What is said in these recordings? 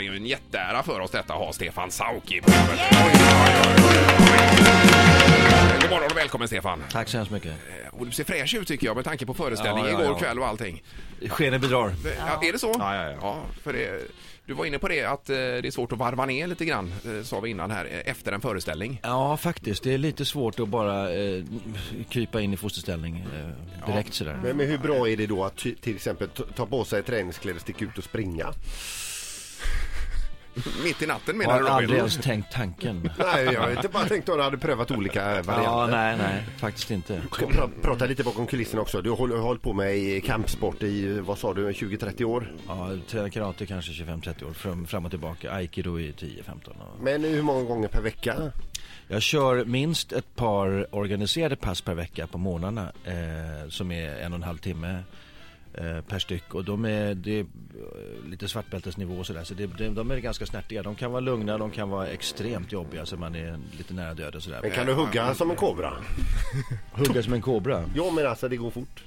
är ju en jätteära för oss detta att ha Stefan Sauk i God morgon och välkommen Stefan. Tack så hemskt mycket. Och du ser fräsch ut tycker jag med tanke på föreställningen Ja, ja, ja. igår kväll och allting. Skenet bedrar. Ja, är det så? Ja, ja, ja. för det, du var inne på det att eh, det är svårt att varva ner lite grann, eh, sa vi innan här, eh, efter en föreställning. Ja, faktiskt. Det är lite svårt att bara eh, krypa in i fosterställning eh, direkt sådär. Men, men hur bra är det då att ty- till exempel ta- ta på sig träningskläder, sticka ut och springa? Mitt i natten Jag menar har du aldrig Robin? ens tänkt tanken. Nej, jag vet inte. Bara tänkte om du hade prövat olika Ja, varianter. nej, nej, faktiskt inte. Ska vi pra prata lite bakom kulisserna också. Du har håll- har hållit på med i kampsport i, vad sa du, 20-30 år? Ja, träna karate kanske 25-30 år fram, fram och tillbaka. Aikido i 10-15 år. Men hur många gånger per vecka? Jag kör minst ett par organiserade pass per vecka på morgnarna eh, som är en och en halv timme eh, per styck och de är, det är eh, lite svartbältesnivå och sådär så det, de, de är ganska snärtiga. De kan vara lugna, de kan vara extremt jobbiga så man är lite nära döden och Men sådär. kan du hugga som en kobra? Hugga som en kobra. Ja, men alltså det går fort.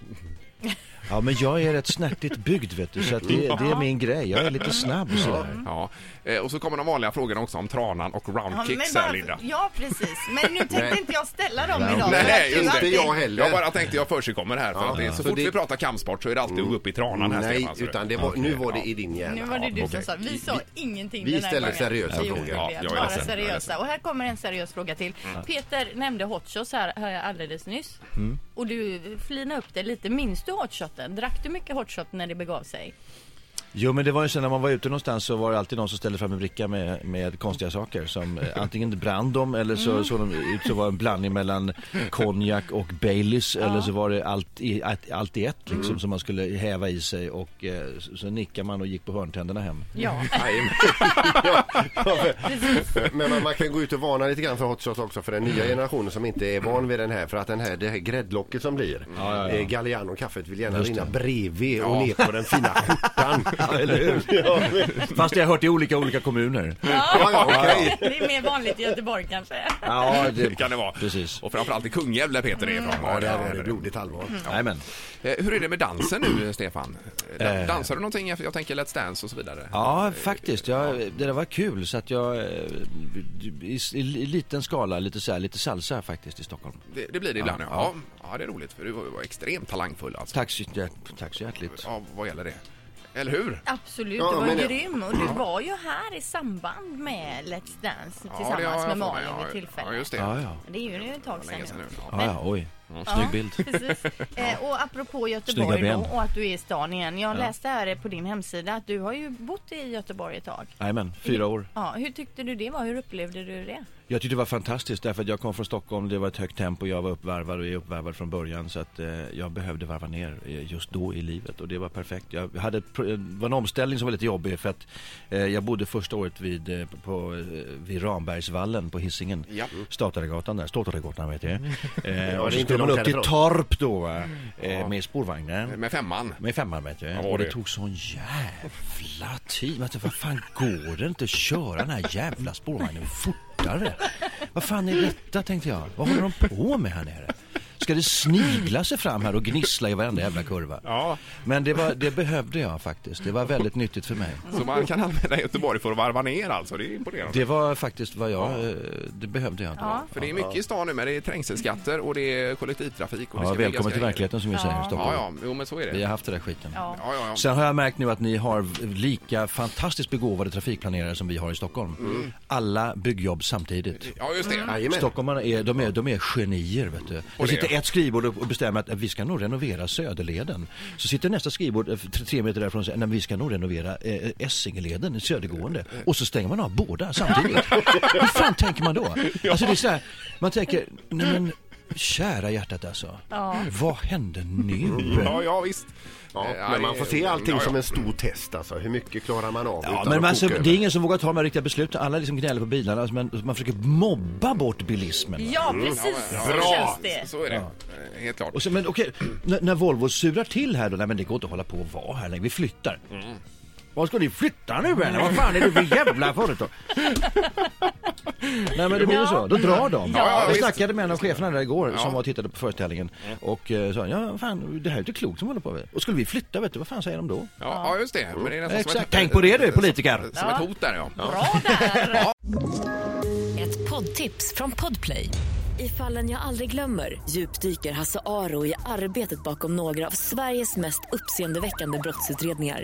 Ja men jag är rätt snärtigt byggd vet du så att det, det är min grej. Jag är lite snabb och sådär. Ja, eh, och så kommer de vanliga frågorna också om tranan och Ja, men roundkicks här varför- Linda. Ja, precis. Men nu tänkte Nej. inte jag ställa dem idag. för att Nej, du just alltid- det. Inte jag heller. Jag bara tänkte jag försigkommer här. För att det, är- så För fort det- vi pratar kampsport så är det alltid att gå upp i tranan här Mm. Nej, Stefan. så utan det var, nu var det Ja. i din hjärna. Nu var det du som okej. sa. Vi sa ingenting vi den här ställer gången. seriösa Vi gjorde frågor. det. Ja, jag är Bara ledsen, jag är ledsen. Mm. seriösa. Och här kommer en seriös fråga till. Peter nämnde hot shots här hör jag alldeles nyss. Och du flinade upp det lite. Minns du hot shoten? Drack du mycket hot shot när det begav sig? Jo men det var ju så när man var ute någonstans så var det alltid någon som ställde fram en bricka med, med konstiga saker som eh, antingen brann de eller så Mm. såg de ut så var en blandning mellan konjak och Baileys eller så var det allt i, allt, allt i ett liksom Mm. som man skulle häva i sig och eh, så, så nickade man och gick på hörntänderna hem. Ja. Men man, man kan gå ut och varna lite grann för hot shots också för den nya generationen som inte är van vid den här för att den här, det här gräddlocket som blir ja, ja. eh, Galliano och kaffet vill gärna Just rinna det. bredvid och ner på den fina skjortan. eller hur? ja, men- Fast jag har hört i olika, olika kommuner. ja, ja, okej. Det är mer vanligt i Göteborg kanske. Ja, Det kan det vara. Precis. Och framförallt i Kungälv där Peter är ifrån. Ja, där var det blodigt allvar. Jajamän. Eh, Hur är det med dansen Mm. nu, Stefan? Dan- Eh. Dansar du någonting? Jag tänker Let's Dance och så vidare. Ja, faktiskt. Jag, det där var kul så att jag eh, i, i, i liten skala, lite, så här, lite salsa faktiskt i Stockholm. Det, det blir det ibland, ja. Ja. ja. det är roligt, för du var var extremt talangfull alltså. Tack så, hjärt- tack så hjärtligt. Ja, vad gäller det. Eller hur? Absolut, Ja, du var men det- grym och du var ju här i samband med Let's Dance ja, det har tillsammans jag med för mig. Malin Ja, vid tillfället. Ja, just det. Ja, ja. Det är ju nu ett tag sedan Länge sedan nu. nu. Ja. Ja, ja, oj. Mm. Snygg bild. Precis. Eh, och apropå Snygga Göteborg ben. då, och att du är i stan igen. Jag läste här på din hemsida att du har ju bott i Göteborg ett tag. Jajamän, Mm. fyra år. Ja, hur tyckte du det var? Hur upplevde du det? Jag tyckte det var fantastiskt därför att jag kom från Stockholm, det var ett högt tempo, jag var uppvarvad och är uppvarvad från början så att eh, jag behövde varva ner eh, just då i livet och det var perfekt. Jag hade ett, pro- eh, det var en omställning som var lite jobbig för att eh, jag bodde första året vid, eh, på, eh, vid Rambergsvallen på Hisingen. Ja. Statoregatan där, Statoregatan vet jag. Eh, Mm. Ja, och det så är inte skulle man långt upp till härifrån. Torp då va? Eh, med spårvagnen. Med femman. Med femman vet du. var och det, det. tog sån jävla tid. Men vad fan går det inte att köra den här jävla spårvagnen fortare? Vad fan är detta tänkte jag. Vad håller de på med här nere? Ska det snigla sig fram här och gnissla i varenda jävla kurva? Ja. Men det, var, det behövde jag faktiskt. Det var väldigt nyttigt för mig. Så man kan använda Göteborg för att varva ner alltså, det är imponerande. Det var faktiskt vad jag... eh, Det behövde jag. Ja, För det är mycket i stan nu, men det är trängselskatter och det är kollektivtrafik och det ja, ska byggas välkommen till grejer. verkligheten som vi säger i Ja, Stockholm. ja, jo men så är det. Vi har Ja, haft det där skiten. Ja. ja, ja. Sen har jag märkt nu att ni har lika fantastiskt begåvade trafikplanerare som vi har i Stockholm. Alla byggjobb samtidigt. Ja, just det. Jajamän. Stockholmarna är, de är, de är genier vet du. det Det sitter är- ett skrivbord och och bestämmer att eh, vi ska nog renovera Söderleden. Så sitter nästa skrivbord eh, tre tre meter därifrån och säger "Nej, men vi ska nog renovera eh, Essingeleden, södergående. Och så stänger man av båda samtidigt. Hur fan tänker man då? Alltså det är så här, man tänker, nej men kära hjärtat alltså. Vad hände nu? Ja, ja visst. Ja, Eh, men man det- får se allting ja, ja. som en stor test alltså. Hur mycket klarar man av Ja, utan men att alltså, koka det är över? ingen som vågar ta de här riktiga besluten. Alla liksom gnäller på bilarna. Alltså, men man försöker mobba bort bilismen. Ja, precis. Mm, Ja, Så känns Bra! det. Så är det. Eh, Helt klart. Och sen, Mm. men okej, n- när Volvo surar till här då, nej men det går inte att hålla på och vara här längre, vi flyttar. Var ska ni flytta nu eller? Vad fan är det för jävla företag? Nej men det blir ju så, då drar de. Ja, ja, jag visst. snackade med en av cheferna där igår som var och tittade på föreställningen och eh, sa ja fan det här är inte klokt som håller på med. Och skulle vi flytta vet du, vad fan säger de då? Ja, ja, just det. Men det är nästan som Exakt, ett, tänk på det du politiker! Som ett hot där ja. Bra där! Ett poddtips från Podplay. I fallen jag aldrig glömmer djupdyker Hasse Aro i arbetet bakom några av Sveriges mest uppseendeväckande brottsutredningar.